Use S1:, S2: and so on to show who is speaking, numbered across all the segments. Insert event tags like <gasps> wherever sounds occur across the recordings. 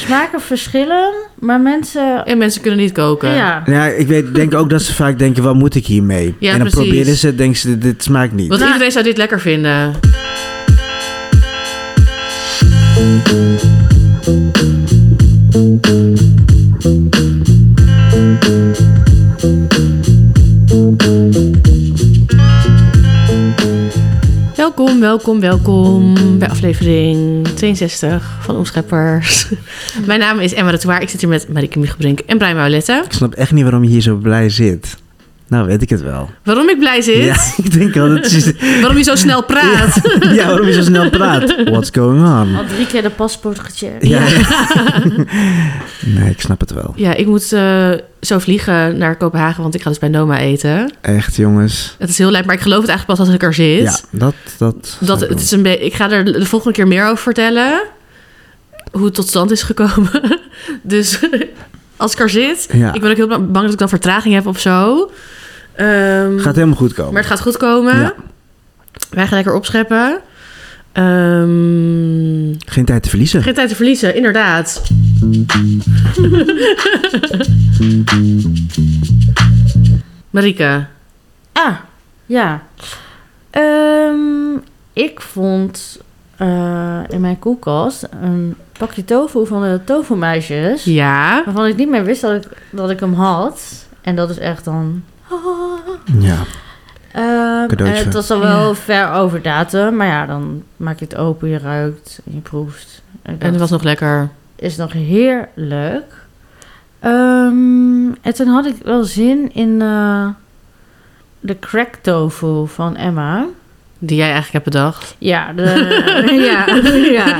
S1: smaken verschillen, maar mensen...
S2: En mensen kunnen niet koken.
S1: Ja.
S3: Nou Ja, ik weet, denk ook dat ze vaak denken, wat moet ik hiermee?
S2: Ja,
S3: en dan
S2: precies.
S3: proberen ze, denken ze, dit smaakt niet.
S2: Want
S1: Nou-
S2: iedereen zou dit lekker vinden. Welkom, welkom, welkom bij aflevering 62 van Omscheppers. <laughs> Mijn naam is Emma de Toer. Ik zit hier met Marieke Miegebrink en Brian Maulette.
S3: Ik snap echt niet waarom je hier zo blij zit. Nou, weet ik het wel.
S2: Waarom ik blij zit?
S3: Ja, <laughs> ik denk al dat je...
S2: <laughs> Waarom je zo snel praat?
S3: ja, waarom je zo snel praat. What's going on?
S1: Al drie keer de paspoort gecheckt.
S3: Ja.
S2: <laughs>
S3: nee, ik snap het wel.
S2: Ja, ik moet eh, zo vliegen naar Kopenhagen, want ik ga dus bij Noma eten.
S3: Echt, jongens.
S2: Het is heel leuk, maar ik geloof het eigenlijk pas als ik er zit.
S3: Ja, dat... dat,
S2: dat,
S3: snap ik
S2: het is een be- ik ga er de volgende keer meer over vertellen, hoe het tot stand is gekomen. <laughs> dus als ik er zit,
S3: wel. Ja,
S2: ik ben ook heel bang dat ik dan vertraging heb of zo. Ehm,
S3: gaat helemaal goed komen.
S2: maar het gaat goed komen.
S3: Ja.
S2: Wij gaan lekker opscheppen. Ehm,
S3: Geen tijd te verliezen.
S2: geen tijd te verliezen, inderdaad. <laughs> Marike,
S1: Ah, ja. Ehm, ik vond eh, in mijn koelkast een pakje tofu van de tofumeisjes.
S2: ja.
S1: Waarvan ik niet meer wist dat ik, dat ik hem had. En dat is echt dan...
S3: Ja.
S1: Ehm, en
S3: Cadeautje.
S1: het was al wel
S2: Ja.
S1: ver over datum. Maar ja, dan maak je het open, je ruikt, en je proeft. En ik
S2: En
S1: dacht,
S2: het was nog lekker.
S1: is nog heerlijk. Ehm, en toen had ik wel zin in eh, de crack tofu van Emma.
S2: Die jij eigenlijk hebt bedacht.
S1: Ja,
S2: <laughs>
S1: de, <laughs> ja, <laughs> ja.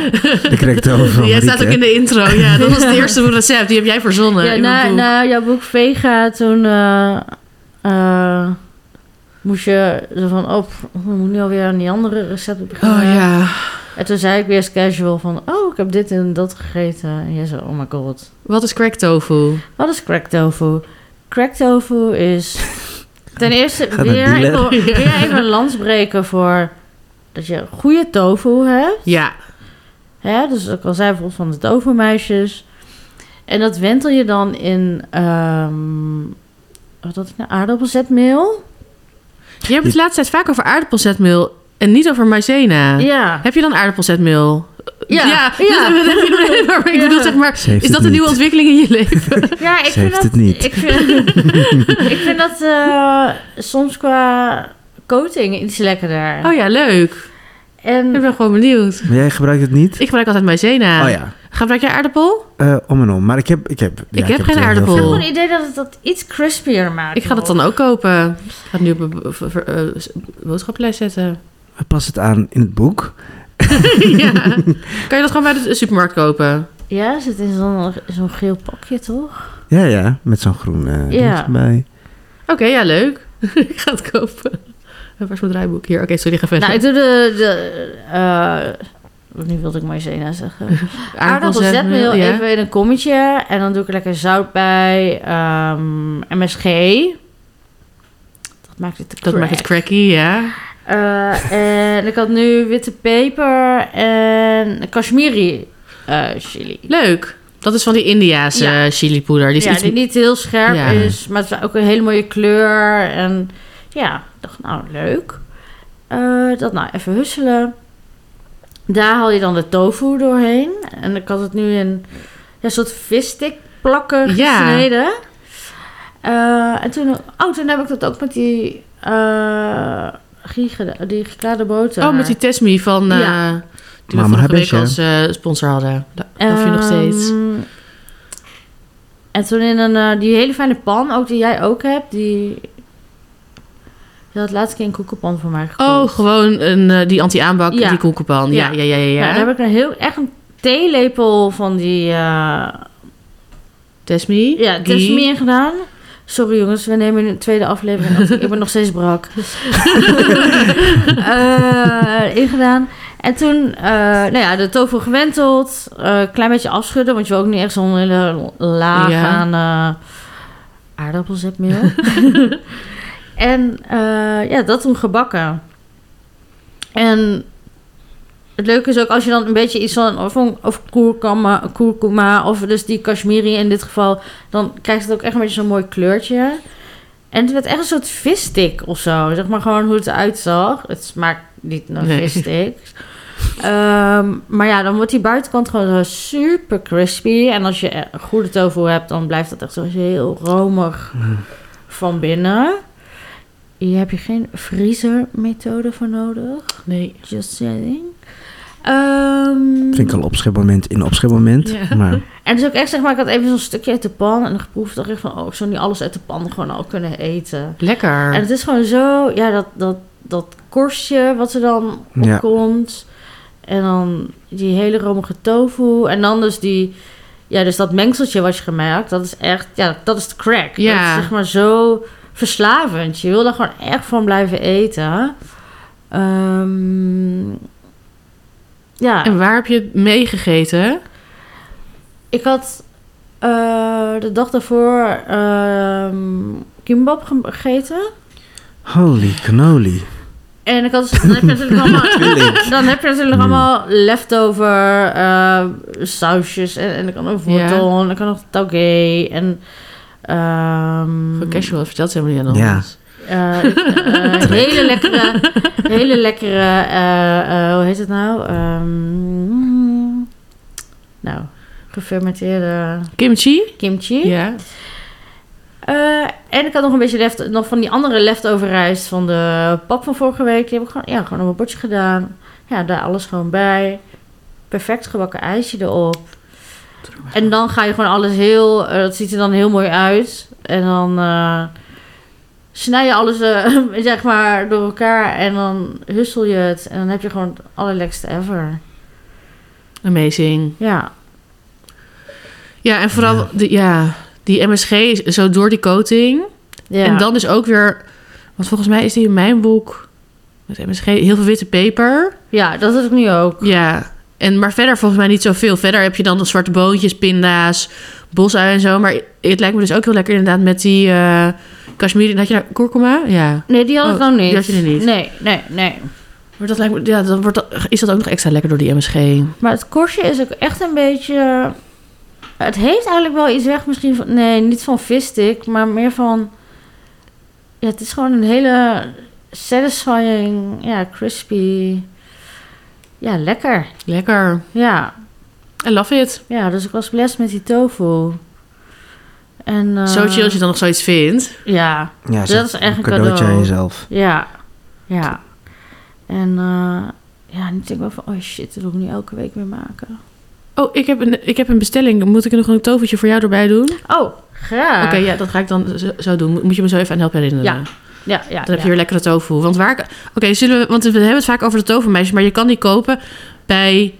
S3: Ik kreeg het over van
S2: Jij
S3: Marieke.
S2: staat ook in de intro.
S1: <laughs>
S2: Ja, dat was het eerste recept. Die heb jij verzonnen.
S1: ja
S2: in mijn
S1: na,
S2: boek.
S1: na jouw boek Vega, toen eh, eh, moest je zo van, oh, pff, ik moet nu alweer aan die andere recepten beginnen.
S2: Oh ja.
S1: En toen zei ik weer eens casual van, oh, ik heb dit en dat gegeten. En jij zei, oh my god.
S2: Wat is crack tofu?
S1: Wat is crack tofu? Crack tofu
S2: <laughs>
S1: is. Ten eerste
S3: Gaat het
S1: weer, ik wil
S3: dealen?
S1: weer even een lans breken voor dat je goede tofu hebt.
S2: Ja.
S1: Hè? Dus ook al zei bijvoorbeeld van de tofu-meisjes. En dat wentel je dan in. ehm, wat had ik nou? Aardappelzetmeel?
S2: Je hebt het de laatste tijd vaak over aardappelzetmeel en niet over maizena. <laughs>
S1: Ja.
S2: Heb je dan aardappelzetmeel?
S1: Ja.
S2: ja.
S1: Ja.
S2: dat- dat heb je- maar ik
S1: Ja.
S2: bedoel, zeg maar,
S3: Ze heeft
S2: is dat
S3: het
S2: een nieuwe
S3: niet.
S2: ontwikkeling in je
S1: <laughs>
S2: leven?
S1: Ja, ik
S3: Ze
S1: vind
S3: heeft
S1: dat.
S3: het niet.
S1: Ik vind, <laughs> ik vind dat eh, soms qua coating iets lekkerder.
S2: Oh ja, leuk. Ik
S1: En
S2: ben gewoon benieuwd.
S3: Maar jij gebruikt het niet?
S2: Ik gebruik altijd maizena.
S3: Oh ja.
S2: Gebruik jij aardappel?
S3: Eh, om en om. Maar ik heb... Ik heb,
S2: heb
S3: ja,
S2: geen
S3: het wel heel
S2: aardappel.
S3: veel.
S1: gewoon het idee dat het dat iets crispier maakt.
S2: Ik ga dat dan ook kopen. Ik ga het nu op een b- b- eh, s- boodschappenlijst zetten. <laughs>
S3: Pas het aan in het boek.
S2: ja. Kan je dat gewoon bij de supermarkt kopen?
S1: Ja, zit in zo'n zo'n geel pakje, toch?
S3: Ja, ja. Met zo'n groen eh
S1: Ja.
S3: ding erbij.
S2: Oké, ja, leuk. <laughs> ik ga het kopen. Eh, Waar is mijn draaiboek? Hier, oké, sorry, ga verder.
S1: Nou, ik doe de... de eh, nu wilde ik maïzena zeggen. Aardappelzetmeel
S2: ja.
S1: even in een kommetje. En dan doe ik er lekker zout bij. ehm, MSG. Dat maakt het te
S2: Dat maakt het
S1: crack.
S2: cracky, ja.
S1: Eh, en ik had nu witte peper en kashmiri eh, chili.
S2: Leuk. Dat is van die Indiaanse
S1: Ja.
S2: chilipoeder. Die is
S1: ja,
S2: Dus iets...
S1: die niet heel scherp
S2: Ja.
S1: is, maar het is ook een hele mooie kleur. En ja, ik dacht nou, leuk. Eh, dat nou, even husselen. Daar haal je dan de tofu doorheen. En ik had het nu in ja, soort visstick plakken
S2: Ja.
S1: gesneden. Eh, en toen, oh, toen heb ik dat ook met die, eh giegede- die gekade boter.
S2: Oh, met die Tesmi van... eh
S1: Ja.
S2: Die we
S3: Mama
S2: vorige week
S3: Habesje.
S2: als eh, sponsor hadden. Dat dat vind je nog steeds.
S1: Ehm, En toen in een, eh, die hele fijne pan, ook die jij ook hebt, die... Je had laatst keer een koekenpan voor mij gekocht.
S2: Oh, gewoon een, eh, die anti-aanbak,
S1: Ja.
S2: die koekenpan. Ja, ja,
S1: Ja.
S2: ja, ja. ja.
S1: Ja, daar heb ik een heel, echt een theelepel van die... eh
S2: Tesmi.
S1: ja, het is
S2: die-
S1: meer gedaan. Sorry jongens, we nemen een tweede aflevering op. Ik ben nog steeds
S2: <laughs>
S1: brak. <laughs> Eh, ingedaan. En toen, eh, nou ja, de tofu gewenteld. eh klein beetje afschudden, want je wil ook niet echt zo'n hele laag
S2: Ja.
S1: aan eh, aardappelzetmeel.
S2: <laughs>
S1: en eh, ja, dat toen gebakken. En Het leuke is ook als je dan een beetje iets van of, of kurkuma, kurkuma of dus die kashmiri in dit geval, dan krijgt het ook echt een beetje zo'n mooi kleurtje. En het werd echt een soort visstick of zo, zeg maar gewoon hoe het eruit zag. Het smaakt niet naar
S2: Nee.
S1: vissticks. Ehm, maar ja, dan wordt die buitenkant gewoon zo super crispy. En als je eh, goede tofu hebt, dan blijft dat echt zo heel romig van binnen. Hier heb je geen vriezermethode voor nodig.
S2: Nee.
S1: Just saying. Ehm,
S3: Vind ik al opschepmoment in opschepmoment.
S2: Ja.
S3: Maar
S1: en dus ook echt, zeg maar, ik had even zo'n stukje uit de pan en geproefd. Dacht ik van, oh, ik zou niet alles uit de pan gewoon al kunnen eten.
S2: Lekker.
S1: En het is gewoon zo, ja, dat, dat, dat korstje wat er dan
S3: Ja.
S1: opkomt. En dan die hele romige tofu. En dan dus die, ja, dus dat mengseltje wat je gemaakt. Dat is echt, ja, dat is de crack.
S2: Ja.
S1: Dat is zeg maar zo verslavend. Je wil daar gewoon echt van blijven eten. Ehm, ja.
S2: En waar Hmm. heb je het meegegeten?
S1: Ik had eh, de dag daarvoor ehm kimbap ge- gegeten.
S3: holy cannoli.
S1: En ik had, dus, dan heb je natuurlijk allemaal, dan heb je natuurlijk allemaal leftover eh, sausjes. En, en ik had ook wortel en ik had nog tauge. En ehm,
S2: Voor casual vertelt ze helemaal niet aan ons.
S3: Ja.
S1: eh, ik- eh,
S2: <laughs>
S1: hele lekkere, hele lekkere, eh, eh, hoe heet het nou? Ehm, nou, gefermenteerde
S2: Kimchi?
S1: kimchi.
S2: Ja.
S1: Eh, en ik had nog een beetje left, nog van die andere leftover rijst van de pap van vorige week. Die heb ik gewoon, ja, gewoon op mijn bordje gedaan. Ja, daar alles gewoon bij. Perfect gebakken ijsje erop. En dan ga je gewoon alles heel... eh, dat ziet er dan heel mooi uit. En dan eh, snij je alles eh, <laughs> zeg maar door elkaar. En dan hussel je het. En dan heb je gewoon het allerlekste ever.
S2: Amazing.
S1: Ja.
S2: Ja, en vooral De, ja, die MSG is zo door die coating.
S1: ja.
S2: En dan dus ook weer... Want volgens mij is die in mijn boek... Met MSG heel veel witte peper.
S1: ja, dat is ik nu ook.
S2: Ja. En, maar verder volgens mij niet zoveel. Verder heb je dan de zwarte boontjes, pinda's, bosuien en zo. Maar het lijkt me dus ook heel lekker inderdaad met die eh kashmiri... Had je daar kurkuma? Ja.
S1: Nee, die had ik
S2: Oh,
S1: nou niet.
S2: die had je er niet.
S1: Nee, nee, nee.
S2: Maar dat lijkt me, ja, dan wordt dat, is dat ook nog extra lekker door die MSG.
S1: Maar het korstje is ook echt een beetje. Het heeft eigenlijk wel iets weg, misschien van. Nee, niet van visstick, maar meer van. Ja, het is gewoon een hele satisfying, ja, crispy. Ja, lekker.
S2: Lekker.
S1: Ja,
S2: I love it.
S1: ja dus ik was blessed met die tofu. En, eh,
S2: zo chill als je dan nog zoiets vindt.
S1: Ja,
S3: Ja,
S1: Dat
S3: zeg,
S1: is echt een
S3: cadeautje
S1: cadeau.
S3: aan jezelf.
S1: ja, ja. En eh, ja, nu denk ik wel van, oh shit, dat wil ik nu elke week weer maken.
S2: Oh, ik heb, een, ik heb een bestelling. Moet ik er nog een tovertje voor jou erbij doen?
S1: Oh, graag.
S2: Oké, ja, dat ga ik dan zo, zo doen. Moet je me zo even aan helpen herinneren.
S1: Ja, ja, ja.
S2: Dan heb
S1: ja.
S2: je weer lekkere tofu. Want waar... Oké, zullen we... Want we hebben het vaak over de tovermeisjes. Maar je kan die kopen bij...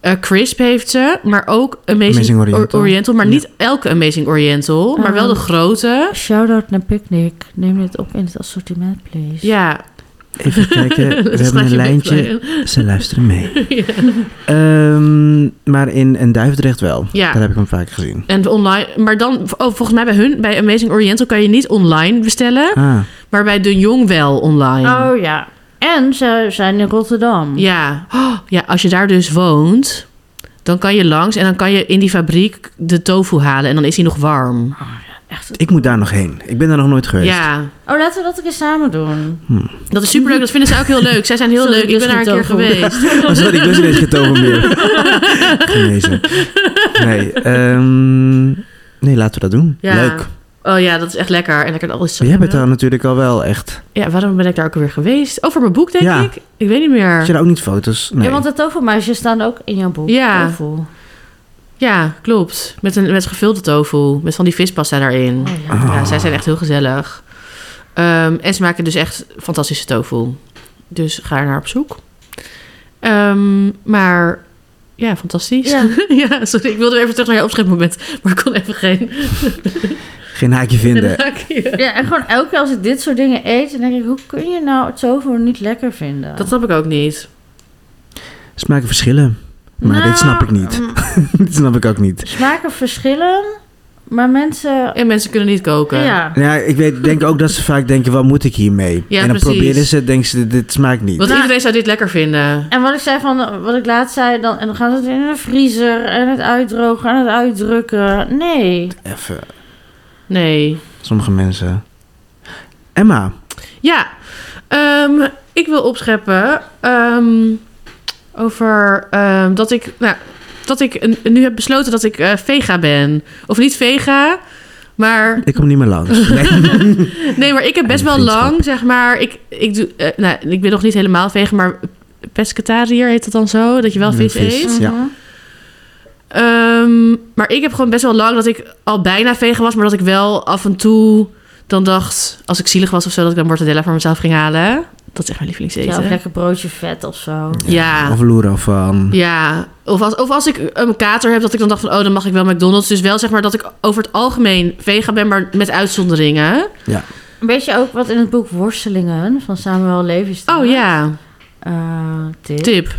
S2: eh, Crisp heeft ze. Maar ook Amazing,
S3: Amazing
S2: Or-
S3: Oriental.
S2: maar niet elke Amazing Oriental. Maar wel de
S1: Ah.
S2: grote.
S1: Shoutout naar Picnic. Neem dit op in het assortiment, please.
S2: Ja. <laughs>
S3: Even kijken, eh, we hebben een lijntje. Ze luisteren mee.
S2: Ja.
S3: Ehm, maar in, in Duivendrecht wel.
S2: Ja.
S3: Daar heb ik hem vaak gezien.
S2: En online, maar dan, oh, volgens mij bij hun, bij Amazing Oriental kan je niet online bestellen,
S3: Ah,
S2: maar bij De Jong wel online.
S1: Oh ja. En ze zijn in Rotterdam.
S2: Ja. <gasps> Oh, ja, als je daar dus woont, dan kan je langs en dan kan je in die fabriek de tofu halen en dan is hij nog warm.
S1: Echt.
S3: ik moet daar nog heen. Ik ben daar nog nooit geweest.
S2: Ja,
S1: Oh, laten we dat een keer samen doen.
S2: dat is superleuk. Dat vinden ze ook heel leuk. Zij zijn heel
S1: Sorry,
S2: leuk. Ik
S1: dus
S2: ben daar een
S1: geen
S2: keer
S1: tofu.
S2: geweest.
S3: <laughs> Oh, sorry, ik lust ineens geen tover meer. Genezen. Nee, ehm, nee, laten we dat doen.
S2: Ja.
S3: Leuk.
S2: Oh ja, dat is echt lekker. En lekker alles.
S3: Maar jij bent daar natuurlijk al wel echt.
S2: Ja, waarom ben ik daar ook alweer geweest? Over mijn boek, denk
S3: Ja.
S2: ik. Ik weet niet meer.
S3: Had je daar ook niet foto's? Nee.
S1: Ja, want de tovermeisjes staan ook in jouw boek.
S2: Ja.
S1: Tofu. Oh,
S2: Ja, klopt. Met, een, met gevulde tofu. Met van die vispasta daarin.
S1: Oh, ja.
S3: Ah.
S2: Ja, zij zijn echt heel gezellig. Ehm, en ze maken dus echt fantastische tofu. Dus ga er naar op zoek. Ehm, maar ja, fantastisch. <laughs> Ja.
S1: Ja.
S2: sorry. Ik wilde even terug naar je opschrijfmoment. Maar ik kon even geen...
S3: Geen haakje vinden.
S1: Ja, en gewoon elke keer als ik dit soort dingen eet, dan denk ik, hoe kun je nou het tofu niet lekker vinden?
S2: Dat snap ik ook niet.
S3: Smaken verschillen. <laughs> Maar dit
S1: Nou,
S3: snap ik niet.
S1: mm,
S3: dit snap ik ook niet.
S1: Smaken verschillen, Maar mensen...
S2: En mensen kunnen niet koken.
S1: Ja.
S3: Ja, ik weet, denk ook dat ze vaak denken, wat moet ik hiermee?
S2: Ja,
S3: en dan
S2: precies.
S3: proberen ze, denken ze, dit smaakt niet.
S2: Want
S1: Nou-
S2: iedereen zou dit lekker vinden.
S1: En wat ik zei van, wat ik laatst zei, dan, en dan gaan ze het in de vriezer en het uitdrogen en het uitdrukken. Nee.
S3: Even,
S2: Nee.
S3: sommige mensen. Emma,
S2: Ja, ehm, ik wil opscheppen ehm, over ehm, dat ik, nou, dat ik een- nu heb besloten dat ik eh, vega ben. Of niet vega, maar
S3: ik kom niet meer
S2: <laughs>
S3: langs. Nee.
S2: nee, maar ik heb best
S3: En
S2: wel
S3: vriendschap.
S2: lang, zeg maar. Ik, ik, doe, eh, nou, ik ben nog niet helemaal vega, maar pescatariër heet dat dan zo, dat je wel
S3: Mm,
S2: vis
S3: vis.
S2: eet.
S3: Ja.
S1: Mhm.
S2: Ehm, maar ik heb gewoon best wel lang dat ik al bijna vegan was, maar dat ik wel af en toe dan dacht, als ik zielig was of zo, dat ik dan mortadella voor mezelf ging halen. Dat is echt mijn lievelingseten.
S1: Ja, of lekker broodje vet of zo.
S2: Ja.
S3: Of loeren van.
S2: Ja, of als, of als ik een kater heb, dat ik dan dacht van... oh, dan mag ik wel McDonald's. Dus wel zeg maar dat ik over het algemeen vegan ben, maar met uitzonderingen.
S1: Weet je ook wat in het boek Worstelingen van Samuel Levinstein?
S2: Oh ja,
S1: Eh, dit.
S2: tip.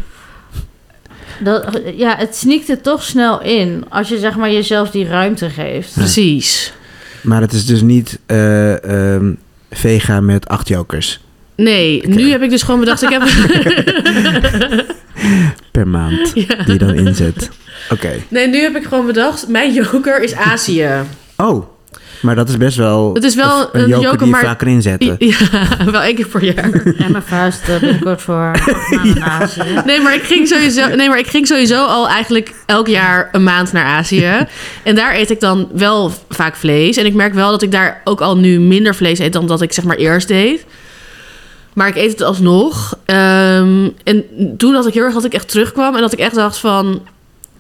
S1: Dat, ja, het sneakt er toch snel in als je zeg maar jezelf die ruimte geeft.
S2: <laughs> Precies.
S3: Maar het is dus niet eh, ehm, vega met acht jokers
S2: Nee, nu heb ik dus gewoon bedacht... ik heb... <laughs>
S3: per maand
S2: Ja.
S3: die je dan inzet. Oké.
S2: Nee, nu heb ik gewoon bedacht... mijn joker is Azië.
S3: Oh, maar dat is best wel,
S2: Het is wel
S3: een
S2: een
S3: joker,
S2: joker,
S3: die je
S2: maar-
S3: vaker inzet.
S2: Ja, <laughs> wel één keer per jaar.
S1: En mijn vuist eh, binnenkort
S2: <laughs>
S1: voor Azië.
S2: Nee maar, ik ging sowieso, nee, maar ik ging sowieso al eigenlijk elk jaar een maand naar Azië. En daar eet ik dan wel vaak vlees. En ik merk wel dat ik daar ook al nu minder vlees eet dan dat ik zeg maar eerst deed. Maar ik eet het alsnog. Ehm, en toen had ik heel erg dat ik echt terugkwam en dat ik echt dacht van...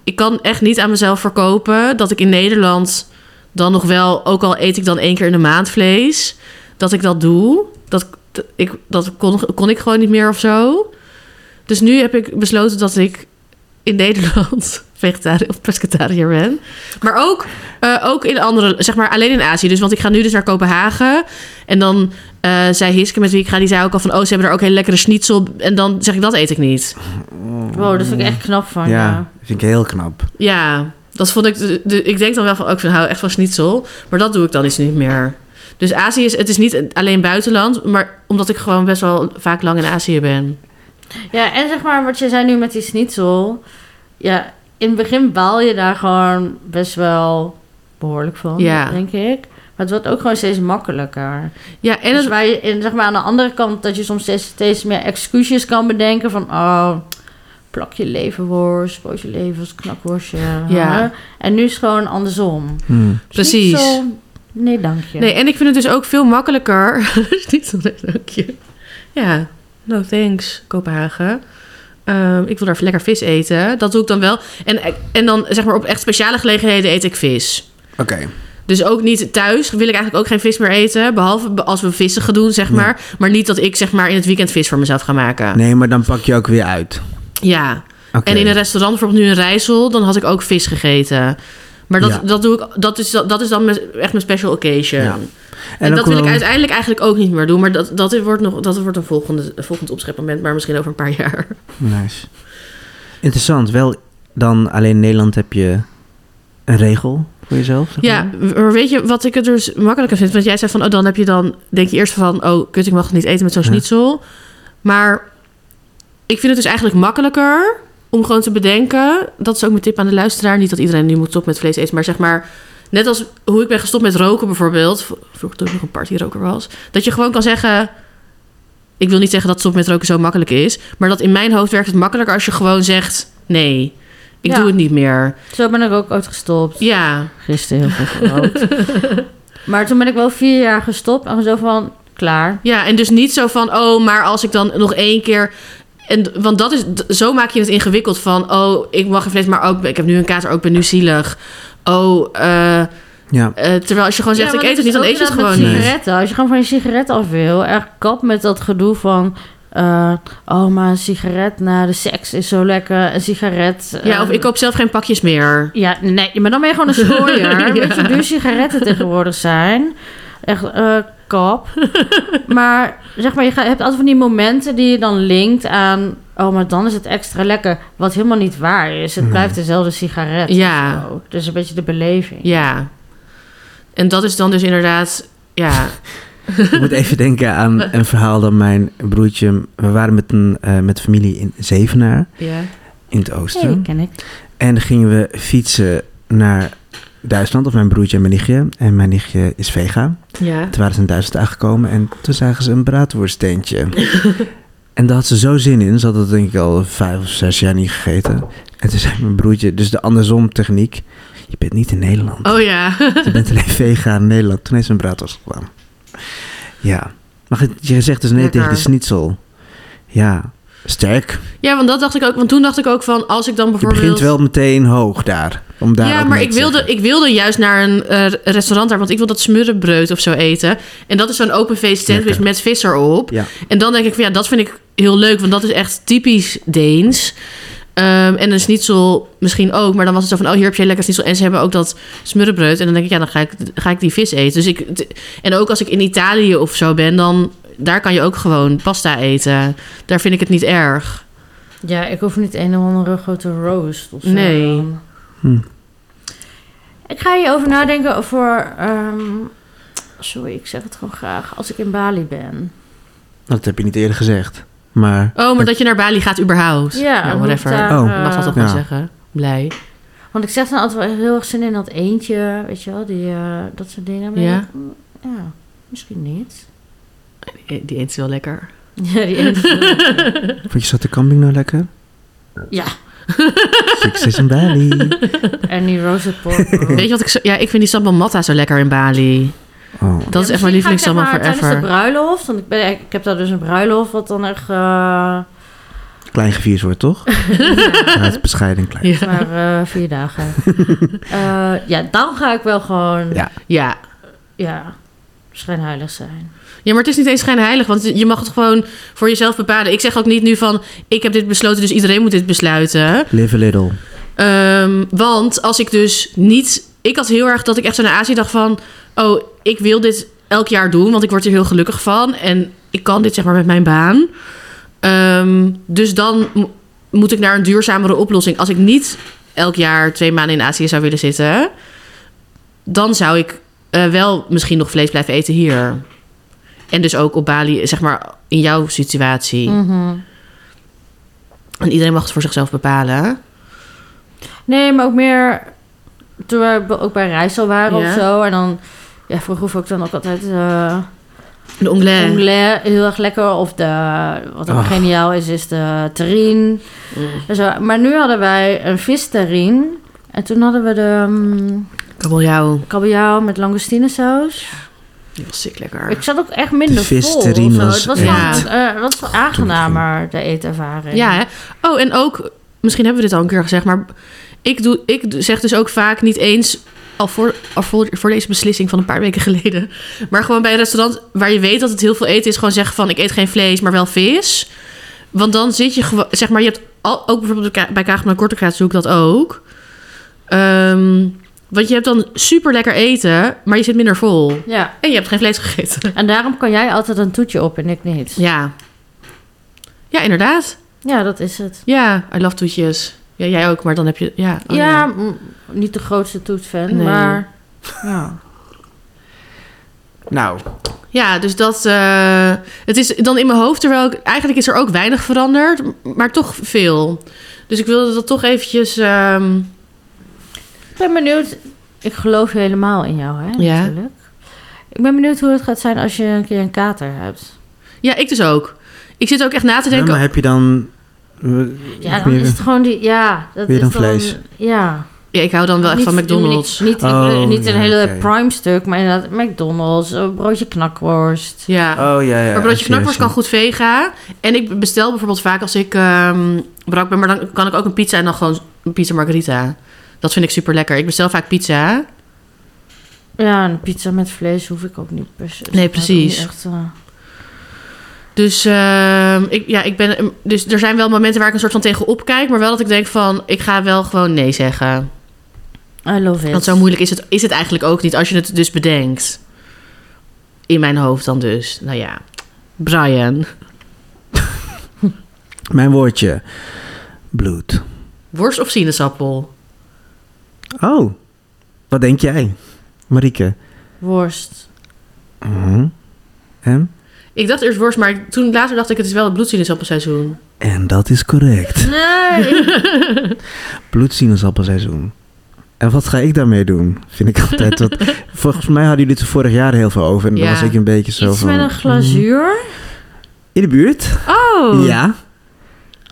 S2: Ik kan echt niet aan mezelf verkopen dat ik in Nederland dan nog wel... Ook al eet ik dan één keer in de maand vlees, dat ik dat doe. Dat, ik, dat kon, kon ik gewoon niet meer of zo. Dus nu heb ik besloten dat ik in Nederland <laughs> vegetariër of pescatariër ben. Maar ook, eh, ook in andere, zeg maar alleen in Azië. Dus want ik ga nu dus naar Kopenhagen. En dan eh zei Hiske met wie ik ga, die zei ook al van... oh, ze hebben er ook hele lekkere schnitzel. En dan zeg ik, dat eet ik niet.
S1: Wow, dat vind ik echt knap van jou.
S3: Ja, vind ik heel knap.
S2: Ja, dat vond ik... de- de- ik denk dan wel van, oh, ik vind, hou echt van schnitzel. Maar dat doe ik dan eens niet meer. Dus Azië is, het is niet alleen buitenland... maar omdat ik gewoon best wel vaak lang in Azië ben.
S1: Ja, en zeg maar wat je zei nu met die schnitzel. Ja, in het begin baal je daar gewoon best wel behoorlijk van,
S2: Ja.
S1: denk ik. Maar het wordt ook gewoon steeds makkelijker.
S2: Ja, en
S1: En
S2: het,
S1: dus waar je in, zeg maar, aan de andere kant dat je soms steeds, steeds meer excuses kan bedenken van oh, plakje leverworst, broodje levers, knakworstje.
S2: Ja.
S1: hè? En nu is het gewoon andersom.
S3: Hmm.
S2: Precies.
S1: Schnitzel, nee, dank je.
S2: Nee, en ik vind het dus ook veel makkelijker. <laughs> Is Niet zo'n dankje. Ja, no thanks, Kopenhagen. Ehm, ik wil daar lekker vis eten. Dat doe ik dan wel. En, en dan zeg maar op echt speciale gelegenheden eet ik vis.
S3: Oké.
S2: Dus ook niet thuis wil ik eigenlijk ook geen vis meer eten. Behalve be- als we vissen gaan doen, zeg
S3: Ja.
S2: maar. Maar niet dat ik zeg maar in het weekend vis voor mezelf ga maken.
S3: Nee, maar dan pak je ook weer uit.
S2: Ja.
S3: Oké.
S2: En in een restaurant, bijvoorbeeld nu in Rijssel, dan had ik ook vis gegeten. Maar dat,
S3: Ja.
S2: dat, doe ik, dat, is, dat is dan mijn- echt mijn special occasion.
S3: Ja.
S2: En, dat wil
S3: ook
S2: ik
S3: wel-
S2: uiteindelijk eigenlijk ook niet meer doen. Maar dat, dat wordt, nog, dat wordt een, volgende, een volgend opschepmoment. Maar misschien over een paar jaar.
S3: Nice. Interessant. Wel, dan alleen in Nederland heb je een regel voor jezelf. zeg
S2: Ja,
S3: maar.
S2: maar weet je wat ik het dus makkelijker vind? Want jij zei van, oh, dan heb je dan... Denk je eerst van, oh, kut, ik mag het niet eten met zo'n
S3: Ja.
S2: schnitzel. Maar ik vind het dus eigenlijk makkelijker om gewoon te bedenken... Dat is ook mijn tip aan de luisteraar. Niet dat iedereen nu moet stoppen met vlees eten. Maar zeg maar, net als hoe ik ben gestopt met roken bijvoorbeeld... v- Vroeger toen ik nog een partyroker was. Dat je gewoon kan zeggen... Ik wil niet zeggen dat stop met roken zo makkelijk is. Maar dat in mijn hoofd werkt het makkelijker als je gewoon zegt... Nee, ik
S1: Ja.
S2: doe het niet meer.
S1: Zo ben ik ook ooit gestopt.
S2: Ja,
S1: Gisteren heel veel gerookt.
S2: <laughs>
S1: maar toen ben ik wel vier jaar gestopt en zo van klaar.
S2: Ja, en dus niet zo van, oh, maar als ik dan nog één keer. En, want dat is, d- zo maak je het ingewikkeld van, oh, ik mag geen vlees, maar ook, ik heb nu een kater, ook ik ben nu zielig. Oh, eh, eh,
S3: ja.
S2: terwijl als je gewoon zegt,
S1: Ja,
S2: ik
S1: want
S2: eet het niet, dan
S1: is
S2: eet je het
S1: ook inderdaad
S2: gewoon
S1: met
S2: niet.
S1: sigaretten. Als je gewoon van je sigaret af wil, echt kap met dat gedoe van... eh, oh, maar een sigaret na de seks is zo lekker. Een sigaret... eh,
S2: Ja, of ik koop zelf geen pakjes meer.
S1: Ja, nee, maar dan ben je gewoon een
S2: <laughs>
S1: schooier.
S2: Ja.
S1: Weet je hoe duur sigaretten tegenwoordig zijn? Echt, eh,
S2: <laughs>
S1: kap. maar zeg maar, je ga- hebt altijd van die momenten die je dan linkt aan... Oh, maar dan is het extra lekker. Wat helemaal niet waar is. Het blijft dezelfde sigaret.
S2: Ja.
S1: of zo. Dus een beetje de beleving.
S2: Ja. En dat is dan dus inderdaad, ja,
S3: Ik moet
S2: <laughs>
S3: even denken aan een verhaal dat mijn broertje... We waren met, een, eh, met familie in Zevenaar,
S2: ja.
S3: in het oosten.
S1: ken ik.
S3: En dan gingen we fietsen naar Duitsland, of mijn broertje en mijn nichtje. En mijn nichtje is vega.
S2: ja.
S3: Toen waren ze in Duitsland aangekomen en toen zagen ze een braadworstentje.
S2: <laughs>
S3: en daar had ze zo zin in. Ze had dat denk ik al vijf of zes jaar niet gegeten. En toen zei mijn broertje, dus de andersom techniek. Je bent niet in Nederland.
S2: Oh ja. <laughs>
S3: Je bent alleen vegan in Nederland. Toen heeft ze een braadworst gedaan. Ja. Maar je- je zegt dus nee
S2: Lekker.
S3: tegen de schnitzel. Ja. Sterk.
S2: ja, want dat dacht ik ook. Want toen dacht ik ook van, als ik dan
S3: Je
S2: bijvoorbeeld...
S3: begint wel meteen hoog daar. Om daar
S2: ja,
S3: ook
S2: maar
S3: nee
S2: ik
S3: te
S2: wilde,
S3: zeggen.
S2: ik wilde juist naar een eh, restaurant daar, want ik wil dat smurrenbreud of zo eten. En dat is zo'n open face sandwich
S3: Lekker.
S2: met vis erop.
S3: Ja.
S2: En dan denk ik van ja, dat vind ik heel leuk, want dat is echt typisch Deens. Ehm, en een schnitzel misschien ook, maar dan was het zo van, oh, hier heb je lekker schnitzel. En ze hebben ook dat smurrenbreud. En dan denk ik, ja, dan ga ik, ga ik die vis eten. Dus ik, d- en ook als ik in Italië of zo ben, dan daar kan je ook gewoon pasta eten. Daar vind ik het niet erg.
S1: Ja, ik hoef niet een of andere grote roast of zo.
S2: Nee.
S3: Hm.
S1: Ik ga hierover nadenken voor... ehm, sorry, ik zeg het gewoon graag. Als ik in Bali ben.
S3: Nou, Dat heb je niet eerder gezegd. Maar
S2: Oh, maar dat je naar Bali gaat überhaupt.
S1: Ja, omdat
S2: nou, whatever.
S1: daar,
S3: Oh.
S1: eh,
S2: Mag dat toch wel
S3: Ja.
S2: zeggen? Blij.
S1: Want ik zeg dan altijd wel echt heel erg zin in dat eentje, weet je wel, die, eh, dat soort dingen. Maar
S2: Ja.
S1: ik- mm, ja, misschien niet. <laughs>
S2: Eh, Die eet wel lekker.
S1: Ja, die ene-
S3: vond je zat de camping nou lekker?
S1: ja.
S3: Succes
S2: <laughs>
S3: in Bali.
S1: en die roasted pork. roll.
S2: Weet je wat ik zo... Ja, ik vind die sambal matta zo lekker in Bali.
S3: Oh.
S2: Dat is
S1: Ja, misschien
S2: echt mijn
S1: ga ik
S2: lievelingssambal
S1: zeg maar Tijdens de
S2: forever.
S1: bruiloft, want ik, ben, ik heb daar dus een bruiloft wat dan echt,
S2: <laughs>
S1: eh,
S3: Klein gevierd wordt,
S1: <laughs>
S3: toch? Ja, het is bescheiden en klein.
S2: Ja.
S1: maar eh, vier dagen. Eh, ja, dan ga ik wel gewoon, ja,
S3: Ja.
S2: Ja.
S1: schijnheilig zijn.
S2: ja, maar het is niet eens schijnheilig. Want je mag het gewoon voor jezelf bepalen. Ik zeg ook niet nu van... Ik heb dit besloten, dus iedereen moet dit besluiten.
S3: Live a little.
S2: Ehm, want als ik dus niet... Ik had heel erg dat ik echt zo naar Azië dacht van... Oh, ik wil dit elk jaar doen, want ik word er heel gelukkig van. En ik kan dit zeg maar met mijn baan. Ehm, dus dan mo- moet ik naar een duurzamere oplossing. Als ik niet elk jaar twee maanden in Azië zou willen zitten... dan zou ik eh, wel misschien nog vlees blijven eten hier. En dus ook op Bali, zeg maar in jouw situatie.
S1: Mhm.
S2: En iedereen mag het voor zichzelf bepalen.
S1: Nee, maar ook meer toen we b- ook bij reis al waren
S2: Ja.
S1: of zo. En dan ja, vroeg hoef ik dan ook altijd eh
S2: De onglet.
S1: omelet, heel erg lekker. Of de, wat ook
S3: Ach.
S1: geniaal is, is de terrine. En zo. Maar nu hadden wij een vis terrine. En toen hadden we de mm,
S2: Kabeljauw.
S1: kabeljauw met langostinesaus.
S2: Die was ziek lekker.
S1: Ik zat ook echt minder
S3: De vis
S1: vol. of
S3: terrine
S1: zo.
S3: was
S1: Het was,
S2: echt-
S1: wel, eh, wat wel aangenamer, de eetervaring.
S2: ja, hè? Oh, en ook... Misschien hebben we dit al een keer gezegd, maar... Ik, doe, ik doe- zeg dus ook vaak niet eens... Al voor, al voor, voor deze beslissing van een paar weken geleden. Maar gewoon bij een restaurant waar je weet dat het heel veel eten is... gewoon zeggen van, ik eet geen vlees, maar wel vis. Want dan zit je gewoon... Zeg maar, je hebt al, ook bijvoorbeeld bij Ka- bij Kaagman en Kortekraat doe ik dat ook. Ehm, want je hebt dan super lekker eten, maar je zit minder vol.
S1: ja.
S2: En je hebt geen vlees gegeten.
S1: En daarom kan jij altijd een toetje op en ik niet.
S2: Ja. Ja, inderdaad.
S1: Ja, dat is het.
S2: Ja, I love toetjes. Ja, jij ook, maar dan heb je... Ja, oh
S1: ja, m- niet de grootste toetfan,
S2: Nee.
S1: maar... Ja.
S3: Nou,
S2: ja dus dat... eh, het is dan in mijn hoofd, terwijl ik, eigenlijk is er ook weinig veranderd, m- maar toch veel. Dus ik wilde dat toch eventjes... ehm,
S1: Ik ben benieuwd... Ik geloof helemaal in jou, hè?
S2: Ja.
S1: Natuurlijk. Ik ben benieuwd hoe het gaat zijn als je een keer een kater hebt.
S2: ja, ik dus ook. Ik zit ook echt na te denken...
S3: maar heb je dan... Oh,
S1: Ja, dan is het gewoon die... Ja, dat
S3: Weer
S1: is
S3: een
S1: dan,
S3: vlees.
S1: Ja.
S2: Ja, ik hou dan wel echt
S1: Niet-
S2: van McDonald's.
S1: Niet, niet,
S3: Oh,
S1: niet een
S3: ja,
S1: hele
S3: oké.
S1: prime stuk, maar inderdaad McDonald's, een broodje knakworst.
S2: Ja.
S3: Oh, ja, ja.
S2: maar broodje
S3: als je-
S2: knakworst kan goed vega. En ik bestel bijvoorbeeld vaak als ik ehm brak ben, maar dan kan ik ook een pizza en dan gewoon een pizza margarita. Dat vind ik super lekker. Ik bestel vaak pizza.
S1: Ja, en pizza met vlees hoef ik ook niet per se.
S2: Nee, precies.
S1: Ik ook niet Echt, eh,
S2: Dus, ehm, ik, ja, ik ben, dus er zijn wel momenten waar ik een soort van tegenop kijk. Maar wel dat ik denk van, ik ga wel gewoon nee zeggen.
S1: I love it.
S2: Want zo moeilijk is het, is het eigenlijk ook niet als je het dus bedenkt. In mijn hoofd dan dus. Nou ja, Brian.
S3: Mijn woordje. Bloed.
S2: Worst of sinaasappel?
S3: Oh. Wat denk jij, Marieke?
S1: worst.
S3: Mhm. En?
S2: Ik dacht eerst worst, maar toen later dacht ik het is wel het
S3: <laughs>
S2: bloedsinaasappelseizoen.
S3: En dat is correct.
S1: Nee!
S3: Bloedsinaasappelseizoen. En wat ga ik daarmee doen? Vind ik
S1: <laughs>
S3: altijd wat... Volgens mij hadden jullie het er vorig jaar heel veel over. En dan
S2: Ja.
S3: was ik een beetje zo
S1: Iets
S3: van... Mm.
S1: met een glazuur.
S3: In de buurt?
S2: Oh,
S3: Ja.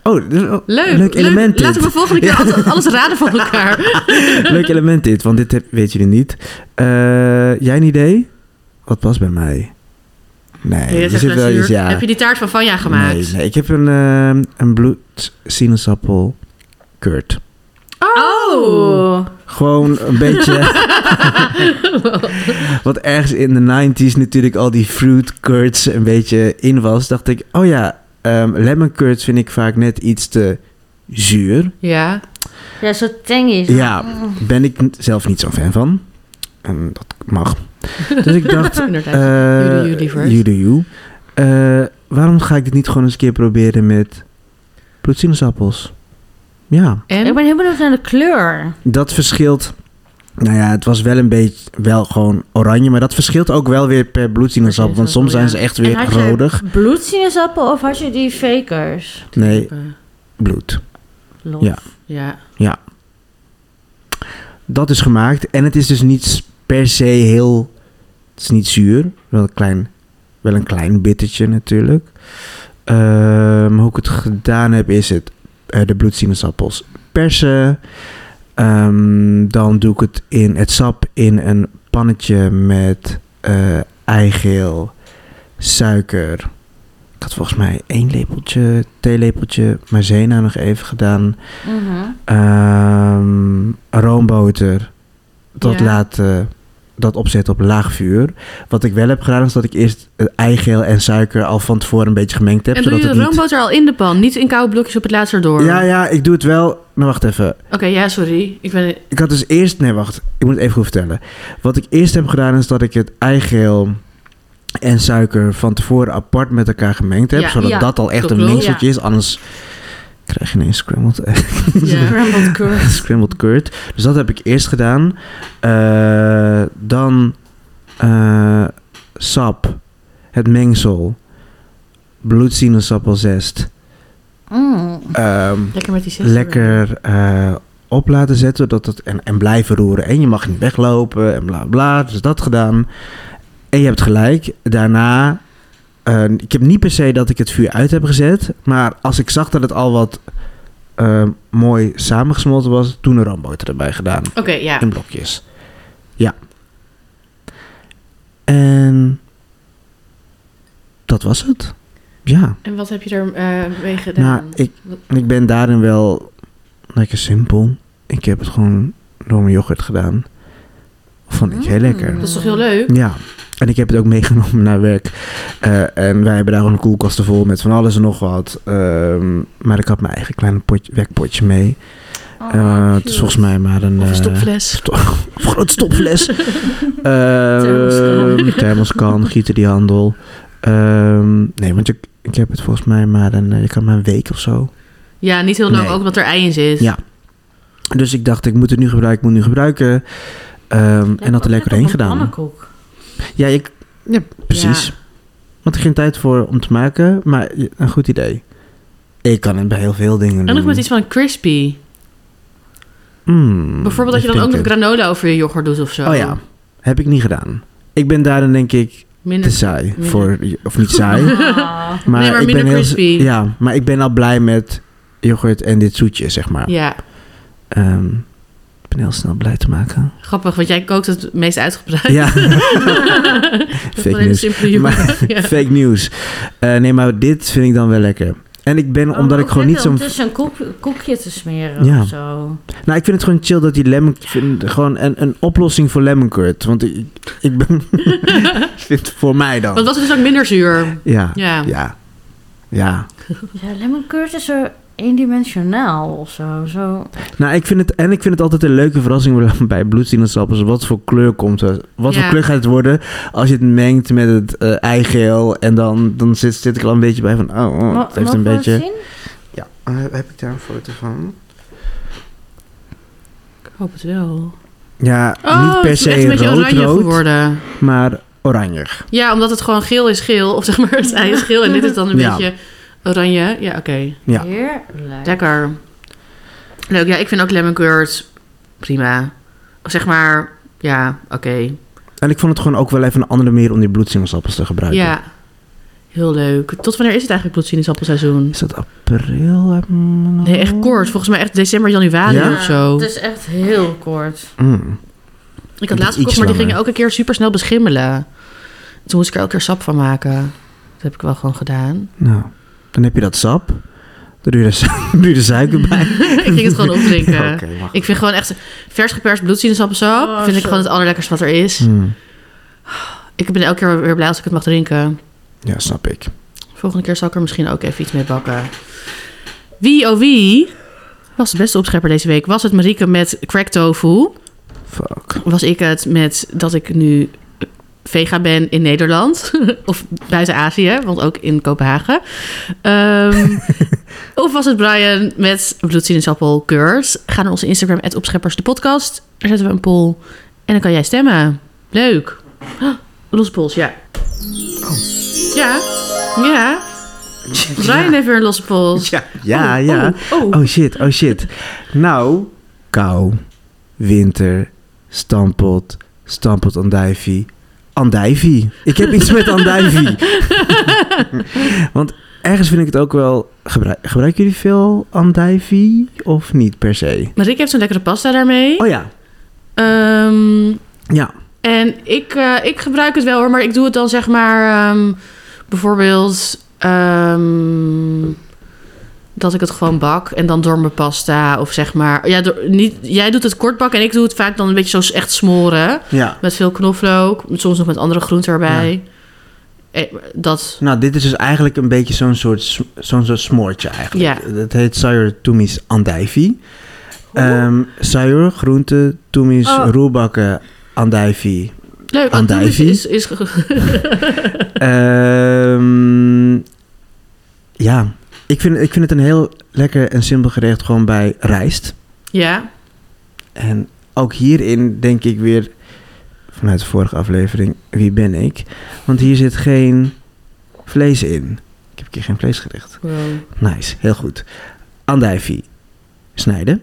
S3: Oh, dus, oh,
S2: leuk.
S3: leuk element dit.
S2: Laten we volgende
S3: <laughs>
S2: keer altijd alles raden van elkaar.
S3: Leuk element dit, want dit heb, weet jullie niet. Eh, jij een idee? Wat was bij mij? Nee,
S2: Dit
S3: je
S2: is
S3: zit wel eens...
S2: glazuur.
S3: Ja.
S2: Heb je die taart van Vanja gemaakt?
S3: Nee, nee, ik heb een, ehm een bloedsinaasappel Kurt. Mm. <laughs>
S2: Oh. <laughs>
S3: Gewoon een beetje... <laughs> Wat ergens in de 90s natuurlijk al die fruit curds een beetje in was. Dacht ik, oh ja, ehm, lemon curds vind ik vaak net iets te zuur.
S2: Ja.
S1: Ja, zo tangy. zo.
S3: Ja, ben ik n- zelf niet zo'n fan van. En dat mag. Dus
S1: <laughs>
S3: ik dacht,
S2: Inderdaad.
S3: eh,
S2: Jullie, jullie first.
S3: jullie, you. Eh, waarom ga ik dit niet gewoon eens een keer proberen met bloedsinaasappels? Ja,
S2: en?
S1: Ik ben heel benieuwd naar de kleur.
S3: dat verschilt. Nou ja, het was wel een beetje, wel gewoon oranje, maar dat verschilt ook wel weer per bloedsinaasappel. Want soms zijn ze echt
S1: En
S3: weer
S1: had je
S3: rodig.
S1: Bloedsinaasappel of had je die fakers?
S3: Nee, bloed.
S1: Los.
S3: Ja.
S2: Eh, Ja.
S3: Dat is gemaakt en het is dus niet per se heel, het is niet zuur. Wel een klein, wel een klein bittertje natuurlijk. Ehm, hoe ik het gedaan heb is het, eh, de bloedsinaasappels persen. Ehm, dan doe ik het in het sap in een pannetje met eh, eigeel, suiker. Ik had volgens mij één lepeltje, theelepeltje maizena nog even gedaan.
S1: Mhm.
S3: Ehm roomboter. Dat
S2: Ja.
S3: laten, dat opzetten op laag vuur. Wat ik wel heb gedaan is dat ik eerst het eigeel en suiker al van tevoren een beetje gemengd heb.
S2: En doe je
S3: zodat
S2: de
S3: het niet...
S2: roomboter al in de pan, niet in koude blokjes op het laatst erdoor?
S3: Ja, ja, ik doe het wel. Maar wacht even.
S2: Oké, ja, sorry. Ik
S3: <laughs>
S2: ben...
S3: Ik had dus eerst... Nee, wacht. Ik moet het even goed vertellen. Wat ik eerst heb gedaan is dat ik het eigeel en suiker van tevoren apart met elkaar gemengd heb.
S2: Ja,
S3: zodat
S1: ja.
S3: dat al echt
S2: Dat
S3: een
S2: klopt.
S3: mengseltje is. Anders krijg je ineens scrambled
S2: Ja.
S3: <laughs>
S1: Scrambled curd.
S3: Scrambled curd. Dus dat heb ik eerst gedaan. Eh, dan eh, sap, het mengsel, bloedsinaasappelzest.
S1: Mm.
S3: Ehm
S2: Lekker met die zes.
S3: lekker eh, op laten zetten zodat het, en, en blijven roeren. En je mag niet weglopen en bla bla. Dus dat gedaan. En je hebt gelijk. Daarna, eh, ik heb niet per se dat ik het vuur uit heb gezet. Maar als ik zag dat het al wat eh, mooi samengesmolten was, toen een roomboter erbij gedaan.
S2: Oké, ja.
S3: In blokjes. Ja. En dat was het. Ja.
S2: En wat heb je er eh, mee gedaan?
S3: Nou, ik, ik ben daarin wel lekker simpel. Ik heb het gewoon door mijn yoghurt gedaan. Vond ik heel lekker.
S2: Dat is toch heel leuk?
S3: Ja, en ik heb het ook meegenomen naar werk. Eh, en wij hebben daar gewoon koelkasten vol met van alles en nog wat. Ehm, maar ik had mijn eigen kleine potje, wekpotje mee.
S1: Oh,
S3: Eh, het is
S1: cute.
S3: volgens mij maar een...
S2: Of een
S3: eh,
S2: stopfles?
S3: of een grote stopfles. Ehm
S1: Thermoskan.
S3: thermoskan, gieten die handel. Ehm, nee, want ik, ik heb het volgens mij maar een... eh, Je kan maar een week of zo.
S2: Ja, niet heel lang
S3: Nee.
S2: ook, omdat er ei in zit.
S3: Ja. Dus ik dacht, ik moet het nu gebruiken, ik moet het nu gebruiken. Ehm, en had er lekker heen
S1: op
S3: gedaan.
S1: Een pannenkoek.
S3: Ja, ik, ja, precies.
S2: Ja.
S3: Want er geen tijd voor om te maken, maar je- een goed idee. Ik kan het bij heel veel dingen doen.
S2: En nog met iets van crispy.
S3: Mm,
S2: Bijvoorbeeld dat je
S3: even
S2: dan ook nog
S3: denken.
S2: granola over je yoghurt doet of zo.
S3: Oh ja, heb ik niet gedaan. Ik ben daarin denk ik te
S2: Minder...
S3: saai
S2: minder.
S3: voor... Of niet
S2: <laughs>
S3: saai,
S1: Ah.
S3: maar,
S2: Nee, maar
S3: ik ben
S2: minder
S3: heel...
S2: crispy.
S3: Ja, maar ik ben al blij met yoghurt en dit zoetje, zeg maar.
S2: Ja,
S3: Ehm, ik ben heel snel blij te maken.
S2: grappig, want jij kookt het meest uitgebreid.
S3: Ja.
S2: <laughs>
S3: <laughs>
S2: Dat is
S3: Fake
S2: wel een
S3: news.
S2: simpele yoghurt. <laughs> Ja.
S3: Fake nieuws. Eh, nee, maar dit vind ik dan wel lekker. En ik
S2: Oh,
S3: ben, omdat ik gewoon niet zo'n...
S1: Oh, Om tussen een koek- koekje te smeren
S3: Ja.
S1: of zo.
S3: Nou, ik vind het gewoon chill dat die lemon... ik vind gewoon een, een oplossing voor lemon curd. Want ik, ik
S2: <laughs>
S3: ben... <laughs> ik vind het voor mij dan.
S2: Want dat is dus ook minder zuur.
S3: Ja,
S2: Ja.
S3: ja, ja.
S1: Ja, lemon curd is zo eendimensionaal of zo. zo.
S3: Nou, ik vind het... En ik vind het altijd een leuke verrassing <laughs> bij bloedsinaasappels. Wat voor kleur komt er? Wat
S2: Ja.
S3: voor kleur gaat het worden als je het mengt met het eh, eigeel? En dan, dan zit, zit ik al een beetje bij van... Oh, oh,
S1: Mo-
S3: het heeft
S1: mogen
S3: een
S1: we het
S3: beetje...
S1: zien?
S3: Ja, eh, heb ik daar een foto van?
S2: Ik hoop het wel.
S3: Ja,
S2: Oh,
S3: niet per
S2: het is echt
S3: se
S2: een beetje oranje
S3: rood-rood,
S2: geworden.
S3: maar oranje.
S2: Ja, omdat het gewoon geel is geel. Of zeg maar, het ei is geel en dit is dan een
S3: Ja.
S2: beetje oranje. Ja, oké.
S3: Ja.
S1: Heerlijk.
S2: Lekker. Leuk, ja, ik vind ook lemon curd prima. Zeg maar, ja, oké.
S3: En ik vond het gewoon ook wel even een andere manier om die bloedsinaasappels te gebruiken.
S2: Ja, heel leuk. Tot wanneer is het eigenlijk bloedsinusappelseizoen?
S3: Is dat april? uit mijn
S2: Nee, echt
S3: hoofd?
S2: kort. Volgens mij echt december, januari
S3: Ja?
S2: of zo.
S1: Het is echt heel kort.
S3: Mm.
S2: Ik
S3: Dat
S2: had
S3: is
S2: laatst gekocht,
S3: iets
S2: maar die
S3: langer.
S2: gingen ook een keer super snel beschimmelen. Toen moest ik er elke keer sap van maken. Dat heb ik wel gewoon gedaan.
S3: Nou, dan heb je dat sap. Dan doe je er, su- <laughs> doe je er
S2: <laughs>
S3: suiker bij.
S2: ik ging het
S3: <laughs>
S2: gewoon opdrinken.
S3: Ja, oké, mag.
S2: Ik vind gewoon echt vers geperst bloedsinusappelsap.
S1: Oh,
S2: vind ik
S1: zo.
S2: gewoon het allerlekkerste wat er is.
S3: Mm.
S2: Ik ben elke keer weer blij als ik het mag drinken.
S3: Ja, snap ik.
S2: Volgende keer zal ik er misschien ook even iets mee bakken. Wie oh wie was de beste opschepper deze week? Was het Marieke met crack tofu?
S3: Fuck.
S2: Was ik het met dat ik nu vega ben in Nederland? <laughs> of buiten Azië, want ook in Kopenhagen.
S3: <laughs>
S2: Ehm, of was het Brian met bloedsinusappel curd? Ga naar onze Instagram, opscheppers de podcast. Daar zetten we een poll en dan kan jij stemmen. Leuk. <gasps> Oh, Los pols, ja.
S3: Oh.
S2: Ja, ja. Brian heeft weer een losse pols.
S3: Ja, ja. ja.
S2: Oh, oh.
S3: Oh shit, oh shit. Nou, kou, winter, stampot, stampot andijvie. Andijvie. Ik heb iets met andijvie. Want ergens vind ik het ook wel... Gebruik, gebruiken jullie veel andijvie of niet per se?
S2: Marieke heeft zo'n lekkere pasta daarmee.
S3: Oh ja,
S2: Ehm,
S3: ja.
S2: En ik, eh, ik gebruik het wel hoor, maar ik doe het dan zeg maar ehm, bijvoorbeeld ehm, dat ik het gewoon bak en dan door mijn pasta of zeg maar. Ja, door, niet, jij doet het kort bakken en ik doe het vaak dan een beetje zo echt smoren
S3: ja.
S2: met veel knoflook, soms nog met andere groenten erbij. Eh, dat
S3: Nou, dit is dus eigenlijk een beetje zo'n soort, sm- zo'n soort smoortje eigenlijk.
S2: Ja.
S3: Dat heet Sayur Tumis andijvie. Ehm sayur, groente, Tumis,
S1: Oh.
S3: roerbakken, andijvie.
S2: leuk.
S3: Andijvie.
S2: Is, is, is
S3: Ehm, ja, ik vind, ik vind het een heel lekker en simpel gerecht gewoon bij rijst.
S2: ja.
S3: En ook hierin denk ik weer vanuit de vorige aflevering, wie ben ik? Want hier zit geen vlees in. Ik heb hier geen vleesgerecht. Nice, heel goed. Andijvie snijden.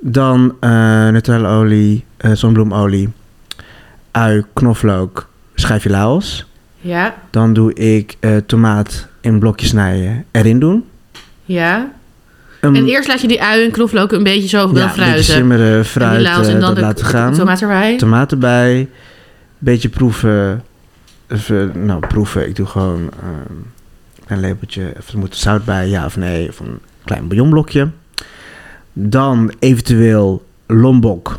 S3: Dan eh neutrale olie, eh, zonbloemolie, ui, knoflook, schijfje laos.
S2: Ja.
S3: Dan doe ik eh, tomaat in blokjes snijden, erin doen.
S2: Ja.
S3: Een,
S2: En eerst laat je die ui en knoflook een beetje zo wel
S3: Ehm. ja, een beetje
S2: fruiten.
S3: simmeren,
S2: en
S3: fruit,
S2: die laos
S3: eh,
S2: en dan
S3: dat
S2: de
S3: laten gaan.
S2: tomaat erbij.
S3: Tomaat erbij, beetje proeven. Of, eh, nou, proeven, ik doe gewoon eh, een klein lepeltje. Of er moet zout bij, ja of nee. Of een klein bouillonblokje. Dan eventueel lombok.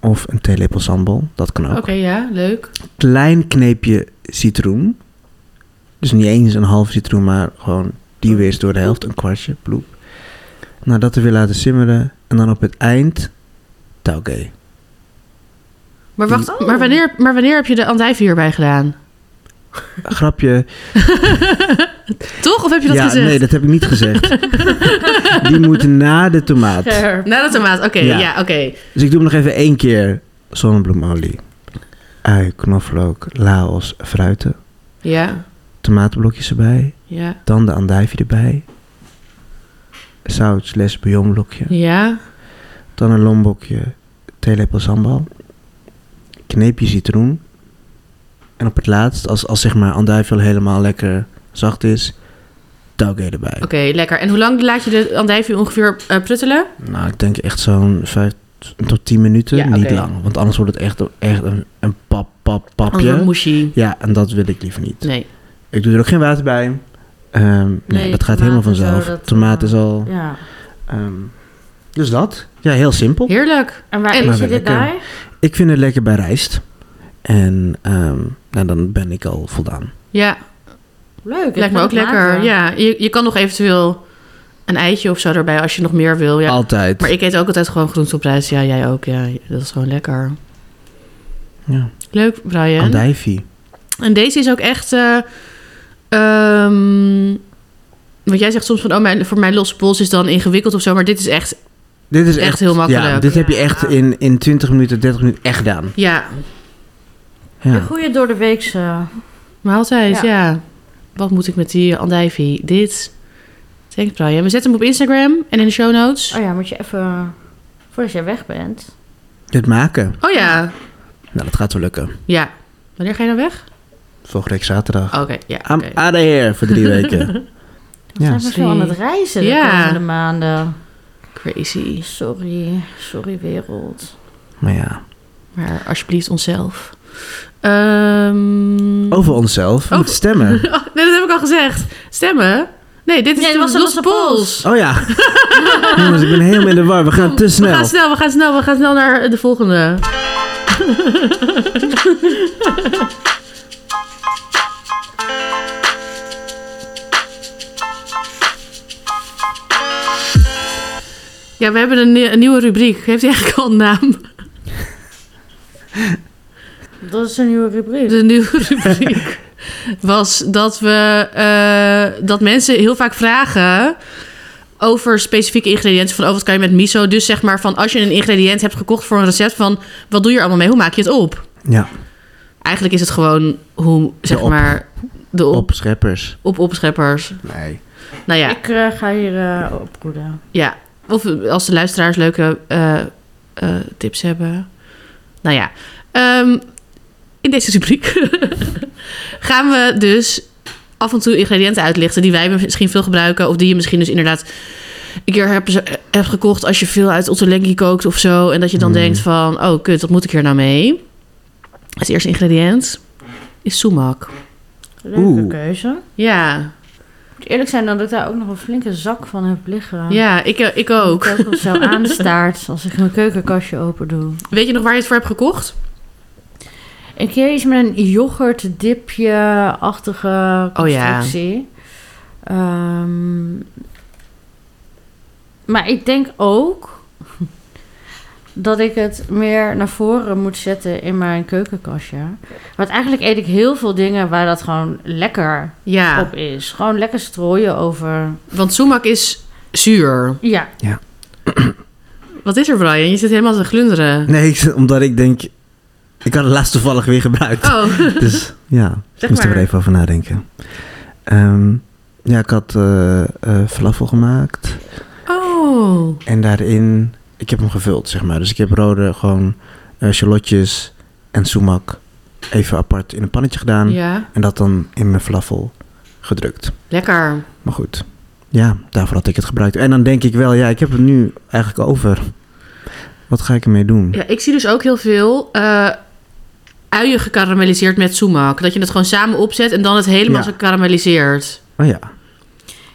S3: Of een theelepel sambal, dat kan ook.
S2: Oké, ja, leuk.
S3: klein kneepje citroen. Dus niet eens een halve citroen, maar gewoon die weer eens door de helft, een kwartje, ploep. Nou, dat er weer laten simmeren. En dan op het eind,
S2: <laughs>
S3: tauge.
S2: Maar wacht,
S1: Oh.
S2: maar, wanneer, maar wanneer heb je de andijvie hierbij gedaan?
S3: Grapje.
S2: Toch? Of heb je dat
S3: Ja,
S2: gezegd?
S3: nee, dat heb ik niet
S2: <laughs>
S3: gezegd. die moet na de tomaat.
S1: Scherp.
S2: Na de tomaat, oké,
S3: Ja.
S2: ja, oké.
S3: Dus ik doe hem nog even één keer. Zonnebloemolie, ui, knoflook, laos, fruiten,
S2: Ja,
S3: tomatenblokjes erbij.
S2: ja,
S3: Dan de andijvie erbij. Zout slash bouillonblokje.
S2: ja.
S3: Dan een lombokje, theelepel sambal, kneepje citroen. En op het laatst, als, als zeg maar andijveel helemaal lekker zacht is, tauge erbij.
S2: Oké, lekker. En hoe lang laat je de andijvie ongeveer eh, pruttelen?
S3: Nou, ik denk echt zo'n 5 tot 10 minuten,
S2: Ja,
S3: niet
S2: oké.
S3: lang. Want anders wordt het echt, echt een, een pap, pap,
S2: Anders
S3: papje.
S2: moesie.
S3: Ja, en dat wil ik liever niet.
S2: Oh, Nee.
S3: Ik doe er ook geen water bij. Ehm, nee,
S1: Nee,
S3: dat gaat
S1: tomaat
S3: helemaal
S1: en zo,
S3: vanzelf.
S1: dat,
S3: Tomaat is al...
S1: Ja.
S3: ehm, dus dat. Ja, heel simpel.
S2: Heerlijk.
S1: En waar
S2: En-
S1: eet
S3: Maar
S1: je
S3: wel
S1: dit
S3: Nou, lekker.
S1: bij?
S3: Ik vind het lekker bij rijst. En ehm, nou, dan ben ik al voldaan.
S2: Ja,
S1: Leuk. ik
S2: lijkt me
S1: ga
S2: ook
S1: dit
S2: lekker.
S1: maken.
S2: Ja, je, je kan nog eventueel een eitje of zo erbij als je nog meer wil. Ja.
S3: Altijd.
S2: Maar ik eet ook altijd gewoon groente op rijst. Ja, jij ook. Ja, dat is gewoon lekker.
S3: Ja.
S2: Leuk, Brian.
S3: Andijvie.
S2: En deze is ook echt. eh, ehm, want jij zegt soms van, oh, mijn, voor mijn losse pols is dan ingewikkeld of zo. Maar dit is echt
S3: Dit is
S2: Echt
S3: echt,
S2: heel makkelijk.
S3: Ja, dit heb je
S1: Ja.
S3: echt in, in 20 minuten, 30 minuten echt gedaan.
S2: Ja,
S1: Een
S3: Ja.
S1: goede door de weekse.
S2: maar altijd,
S1: Ja.
S2: ja. Wat moet ik met die andijvie? Dit. Denk Brian. We zetten hem op Instagram en in de show notes.
S1: Oh ja, moet je even. Voordat jij weg bent.
S3: Dit maken.
S2: Oh ja.
S3: Nou, dat gaat wel lukken.
S2: Ja. Wanneer ga je dan weg?
S3: Volgende week zaterdag.
S2: Oké, ja.
S3: I'm
S2: oké.
S3: out of here voor drie weken.
S1: Ja,
S3: ja.
S1: we veel aan het reizen de
S2: Ja.
S1: komende maanden.
S2: Crazy.
S1: Sorry, sorry wereld.
S3: Maar ja,
S2: Maar alsjeblieft onszelf. Ehm
S3: over onszelf. We
S2: Oh.
S3: moeten stemmen.
S2: Oh, nee, dat heb ik al gezegd. Stemmen? Nee, dit is
S1: Nee,
S2: de
S1: dat was de
S2: losse
S1: losse pols.
S2: pols.
S3: Oh ja. Jongens, ik ben helemaal in de war. We gaan te
S2: We
S3: snel.
S2: gaan snel, we gaan snel, we gaan snel naar de volgende. Ja, we hebben een, nie- een nieuwe rubriek. Heeft die eigenlijk al een naam?
S1: Dat is een nieuwe rubriek.
S2: De nieuwe <laughs> rubriek was dat we eh, dat mensen heel vaak vragen over specifieke ingrediënten. Van oh, wat kan je met miso? Dus zeg maar van als je een ingrediënt hebt gekocht voor een recept van wat doe je er allemaal mee? Hoe maak je het op?
S3: Ja,
S2: Eigenlijk is het gewoon hoe zeg
S3: op-
S2: maar de op,
S3: opscheppers.
S2: op opscheppers.
S3: Nee.
S2: Nou ja,
S1: Ik eh, ga hier eh, oproeden.
S2: ja. Of als de luisteraars leuke eh, eh, tips hebben. Nou ja, ehm, in deze rubriek <laughs> gaan we dus af en toe ingrediënten uitlichten die wij misschien veel gebruiken. Of die je misschien dus inderdaad een keer hebt, hebt gekocht als je veel uit Ottolenghi kookt of zo. En dat je dan
S3: Mm.
S2: denkt van, oh kut, wat moet ik hier nou mee? Het eerste ingrediënt is sumac.
S1: Leuke
S3: Oeh.
S1: keuze.
S2: Ja,
S1: Ik moet eerlijk zijn dat ik daar ook nog een flinke zak van heb liggen.
S2: ja ik, eh, ik ook.
S1: Die Ik ook wel
S2: <laughs>
S1: zo aanstaart als ik mijn keukenkastje open doe.
S2: Weet je nog waar je het voor hebt gekocht?
S1: Een keer iets met een yoghurtdipje-achtige
S2: Oh ja.
S1: constructie. Ehm, maar ik denk ook <laughs> dat ik het meer naar voren moet zetten in mijn keukenkastje. Want eigenlijk eet ik heel veel dingen waar dat gewoon lekker
S2: Ja.
S1: op is. Gewoon lekker strooien over.
S2: Want sumac is zuur.
S1: Ja,
S2: Wat is er, Brian? Je zit helemaal te glunderen.
S3: Nee, ik- omdat ik denk... Ik had het laatst toevallig weer gebruikt.
S2: Oh, <laughs>
S3: Dus ja, ik
S2: zeg
S3: moest er
S2: maar.
S3: weer even over nadenken. Ehm, ja, ik had eh eh, falafel gemaakt.
S2: Oh,
S3: En daarin... Ik heb hem gevuld, zeg maar. Dus ik heb rode gewoon eh shallotjes en sumac even apart in een pannetje gedaan.
S2: ja.
S3: En dat dan in mijn falafel gedrukt.
S2: Lekker.
S3: Maar goed, ja, daarvoor had ik het gebruikt. En dan denk ik wel, ja, ik heb het nu eigenlijk over. Wat ga ik ermee doen?
S2: Ja, ik zie dus ook heel veel eh, uien gekarameliseerd met sumac. Dat je het gewoon samen opzet en dan het helemaal
S3: Ja.
S2: zo karameliseert.
S3: Oh ja,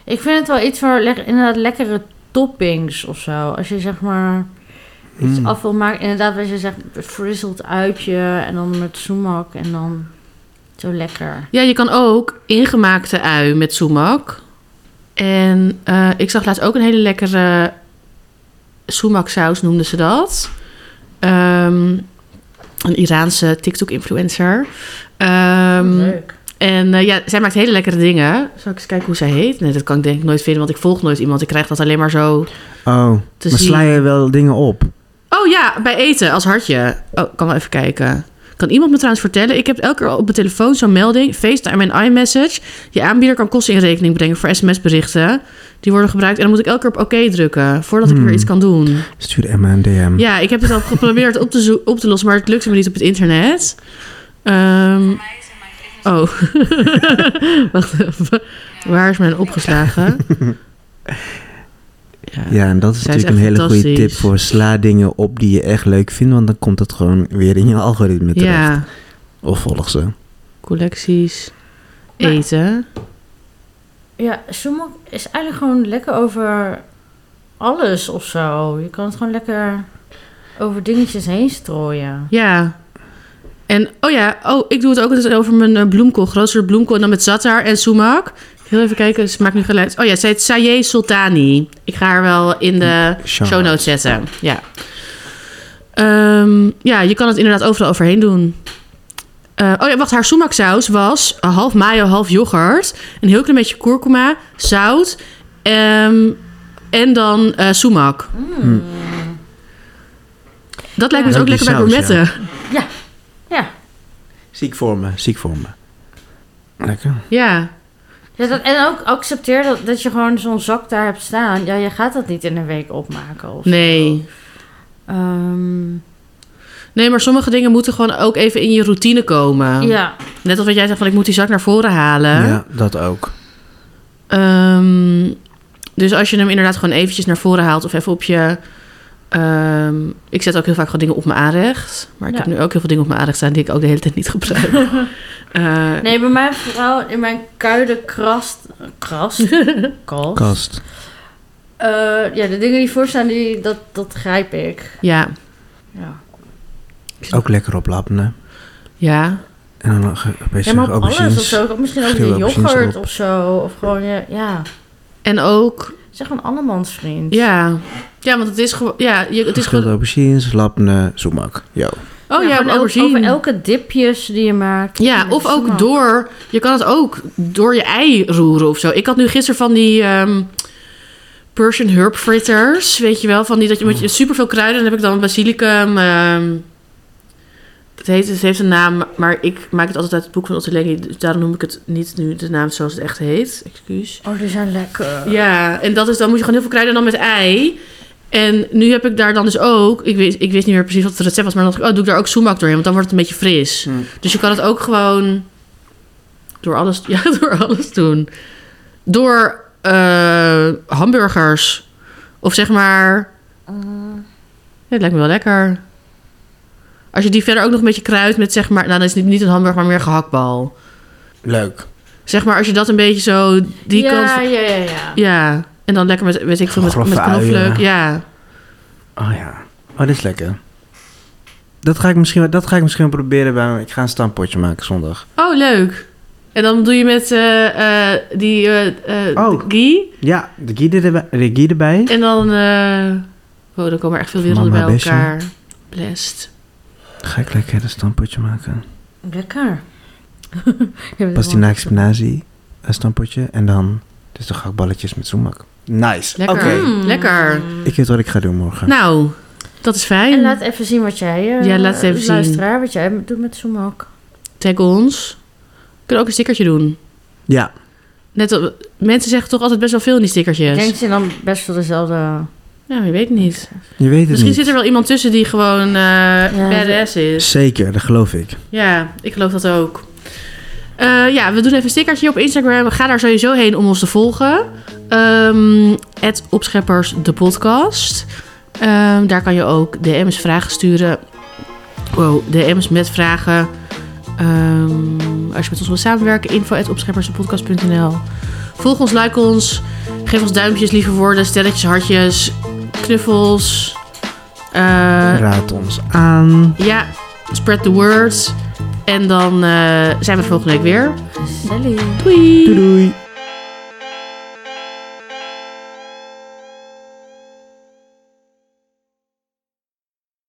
S1: ik vind het wel iets voor le- inderdaad lekkere toppings of zo. Als je zeg maar... iets
S3: Mm.
S1: af wil maken. Inderdaad, wat je zegt, frizzeld uitje en dan met sumac en dan zo lekker.
S2: Ja, je kan ook ingemaakte ui met sumac. En eh, ik zag laatst ook een hele lekkere sumaksaus, noemden ze dat. Ehm, een Iraanse TikTok-influencer. Ehm,
S1: Leuk.
S2: en eh, ja, zij maakt hele lekkere dingen. Zal ik eens kijken hoe zij heet? Nee, dat kan ik denk ik nooit vinden, want ik volg nooit iemand. Ik krijg dat alleen maar zo
S3: oh,
S2: te
S3: maar
S2: zien.
S3: sla je wel dingen op?
S2: Oh ja, bij eten als hartje. Oh, ik kan wel even kijken. Kan iemand me trouwens vertellen? Ik heb elke keer op mijn telefoon zo'n melding. FaceTime en iMessage. Je aanbieder kan kosten in rekening brengen voor sms-berichten. Die worden gebruikt. En dan moet ik elke keer op oké drukken. Voordat ik
S3: Hmm.
S2: weer iets kan doen.
S3: Stuur Emma een DM.
S2: Ja, ik heb het al geprobeerd op te, zo- op te lossen. Maar het lukte me niet op het internet. Ehm, oh. <laughs> Wacht even. Waar is mijn opgeslagen?
S3: Ja, en dat is
S2: Zij is
S3: natuurlijk een
S2: echt
S3: hele goede
S2: fantastisch.
S3: tip voor sla dingen op die je echt leuk vindt, want dan komt dat gewoon weer in je algoritme terecht.
S2: ja.
S3: Of volg ze.
S2: Collecties.
S1: Maar-
S2: Eten.
S1: Ja, sumac is eigenlijk gewoon lekker over alles of zo. Je kan het gewoon lekker over dingetjes heen strooien.
S2: Ja. En, oh ja, oh, ik doe het ook altijd over mijn eh, bloemkool. Grootste bloemkool en dan met zatar en sumaak. Heel even kijken, ze maakt nu geluid. Oh ja, zij heet Sayeh Sultani. Ik ga haar wel in de
S3: Show
S2: show notes zetten. Ja. Ehm, ja, je kan het inderdaad overal overheen doen. Eh, oh ja, wacht, haar sumaksaus was eh, half mayo, half yoghurt. Een heel klein beetje kurkuma, zout ehm, en dan eh sumak.
S1: Mm.
S2: Dat lijkt me
S3: Ja.
S2: dus ook
S3: Ook
S2: lekker
S3: die
S2: bij
S3: saus, ja.
S2: gourmetten.
S3: Ziek voor me, ziek voor me. Lekker.
S2: Ja.
S1: Ja, dat, en ook accepteer dat, dat je gewoon zo'n zak daar hebt staan. Ja, je gaat dat niet in een week opmaken. Of zo.
S2: Nee.
S1: Ehm,
S2: Nee, maar sommige dingen moeten gewoon ook even in je routine komen.
S1: ja.
S2: Net als wat jij zegt van ik moet die zak naar voren halen.
S3: Ja, dat ook.
S2: Ehm, dus als je hem inderdaad gewoon eventjes naar voren haalt of even op je... ehm, ik zet ook heel vaak gewoon dingen op mijn aanrecht. Maar ik
S1: Ja.
S2: heb nu ook heel veel dingen op mijn aanrecht staan die ik ook de hele tijd niet
S1: <laughs>
S2: gebruik. Eh,
S1: Nee, bij mij vooral in mijn kuiden krast... Krast?
S2: <laughs>
S1: Kast.
S3: Kast.
S1: Eh, ja, de dingen die voorstaan, die, dat, dat grijp ik.
S2: ja,
S1: Ja,
S3: Ook lekker oplappen.
S2: ja.
S3: En dan nog een beetje
S1: ja maar op alles of
S3: aubergines.
S1: zo. Misschien ook
S3: Schil
S1: de
S3: aubergines
S1: yoghurt
S3: op.
S1: of zo. Of gewoon, je, ja...
S2: En ook,
S1: Zeg een andermans vriend.
S2: ja. Ja, want het is gewoon... Ja, je, het is
S3: Geschilde
S2: gewoon...
S3: aubergines, lapne, zoemak. Yo.
S2: Oh ja,
S1: gewoon
S2: ja
S1: el- over
S2: aubergine.
S1: elke dipjes die je maakt.
S2: Ja, of
S1: dat is
S2: ook
S1: allemaal.
S2: door. Je kan het ook door je ei roeren of zo. Ik had nu gisteren van die ehm, Persian herb fritters. Weet je wel, van die dat je met je super veel kruiden. Dan heb ik dan basilicum. ehm, het, heet, het heeft een naam, maar ik maak het altijd uit het boek van Otto Lengi. Dus daarom noem ik het niet nu de naam zoals het echt heet. Excuus.
S1: Oh, die zijn lekker.
S2: Ja, en dat is, dan moet je gewoon heel veel kruiden en dan met ei. En nu heb ik daar dan dus ook, ik wist, ik wist niet meer precies wat het recept was, maar dan dacht ik, oh, doe ik daar ook soemak doorheen, want dan wordt het een beetje fris.
S3: Hmm.
S2: Dus je kan het ook gewoon door alles, <laughs> ja, door alles doen. Door eh, hamburgers. Of zeg maar,
S1: Eh.
S2: ja, het lijkt me wel lekker. Als je die verder ook nog een beetje kruidt met zeg maar, nou dat is niet, niet een hamburger, maar meer gehaktbal.
S3: Leuk.
S2: Zeg maar, als je dat een beetje zo, die
S1: ja,
S2: kant
S1: Ja, ja, ja.
S2: ja, en dan lekker met, weet ik veel, met,
S3: Grove
S2: met
S3: uien.
S2: knoflook. Ja.
S3: Oh ja. Oh, dit is lekker. Dat ga ik misschien, wel- dat ga ik misschien wel proberen bij me. Ik ga een stampotje maken zondag.
S2: Oh, leuk. En dan doe je met eh, eh, die eh, eh,
S3: Oh.
S2: ghee.
S3: Ja, de guide erbij. De guide erbij.
S2: En dan... eh oh, dan komen er echt veel werelden bij
S3: Mama Bessie.
S2: elkaar. Blessed.
S3: Ga ik lekker een stampotje maken.
S2: <laughs>
S1: Lekker.
S3: Pas die spinazie, een stampotje. eh, En dan dus de gakballetjes met zoemak. Nice. Oké.
S2: Lekker. Mm, lekker.
S3: Ik weet wat ik ga doen morgen.
S2: Nou, dat is fijn.
S1: En laat even zien wat jij, eh
S2: Ja, laat het even zien.
S1: luisteraar, wat jij doet met Soemak.
S2: Tag ons. We kunnen ook een stickertje doen.
S3: Ja.
S2: Net op- mensen zeggen toch altijd best wel veel in die
S1: Ik
S2: stickertjes.
S1: denk dat je dan best wel dezelfde...
S2: Nou, je weet het niet.
S3: Je weet het
S2: Misschien
S3: niet.
S2: zit er wel iemand tussen die gewoon eh
S1: Ja,
S2: badass is.
S3: Zeker, dat geloof ik.
S2: Ja, ik geloof dat ook. Eh, ja, we doen even een stickertje op Instagram. Ga daar sowieso heen om ons te volgen. Ehm het Opscheppers, de podcast. Ehm, daar kan je ook DM's vragen sturen. Wow, DM's met vragen. Ehm, als je met ons wilt samenwerken, info at opscheppersdepodcast.nl. Volg ons, like ons. Geef ons duimpjes, lieve woorden, sterretjes, hartjes, knuffels. Eh,
S3: Raad ons aan.
S2: ja, spread the word. En dan eh, zijn we volgende week weer.
S1: Sally.
S2: Doei!
S3: Doei doei.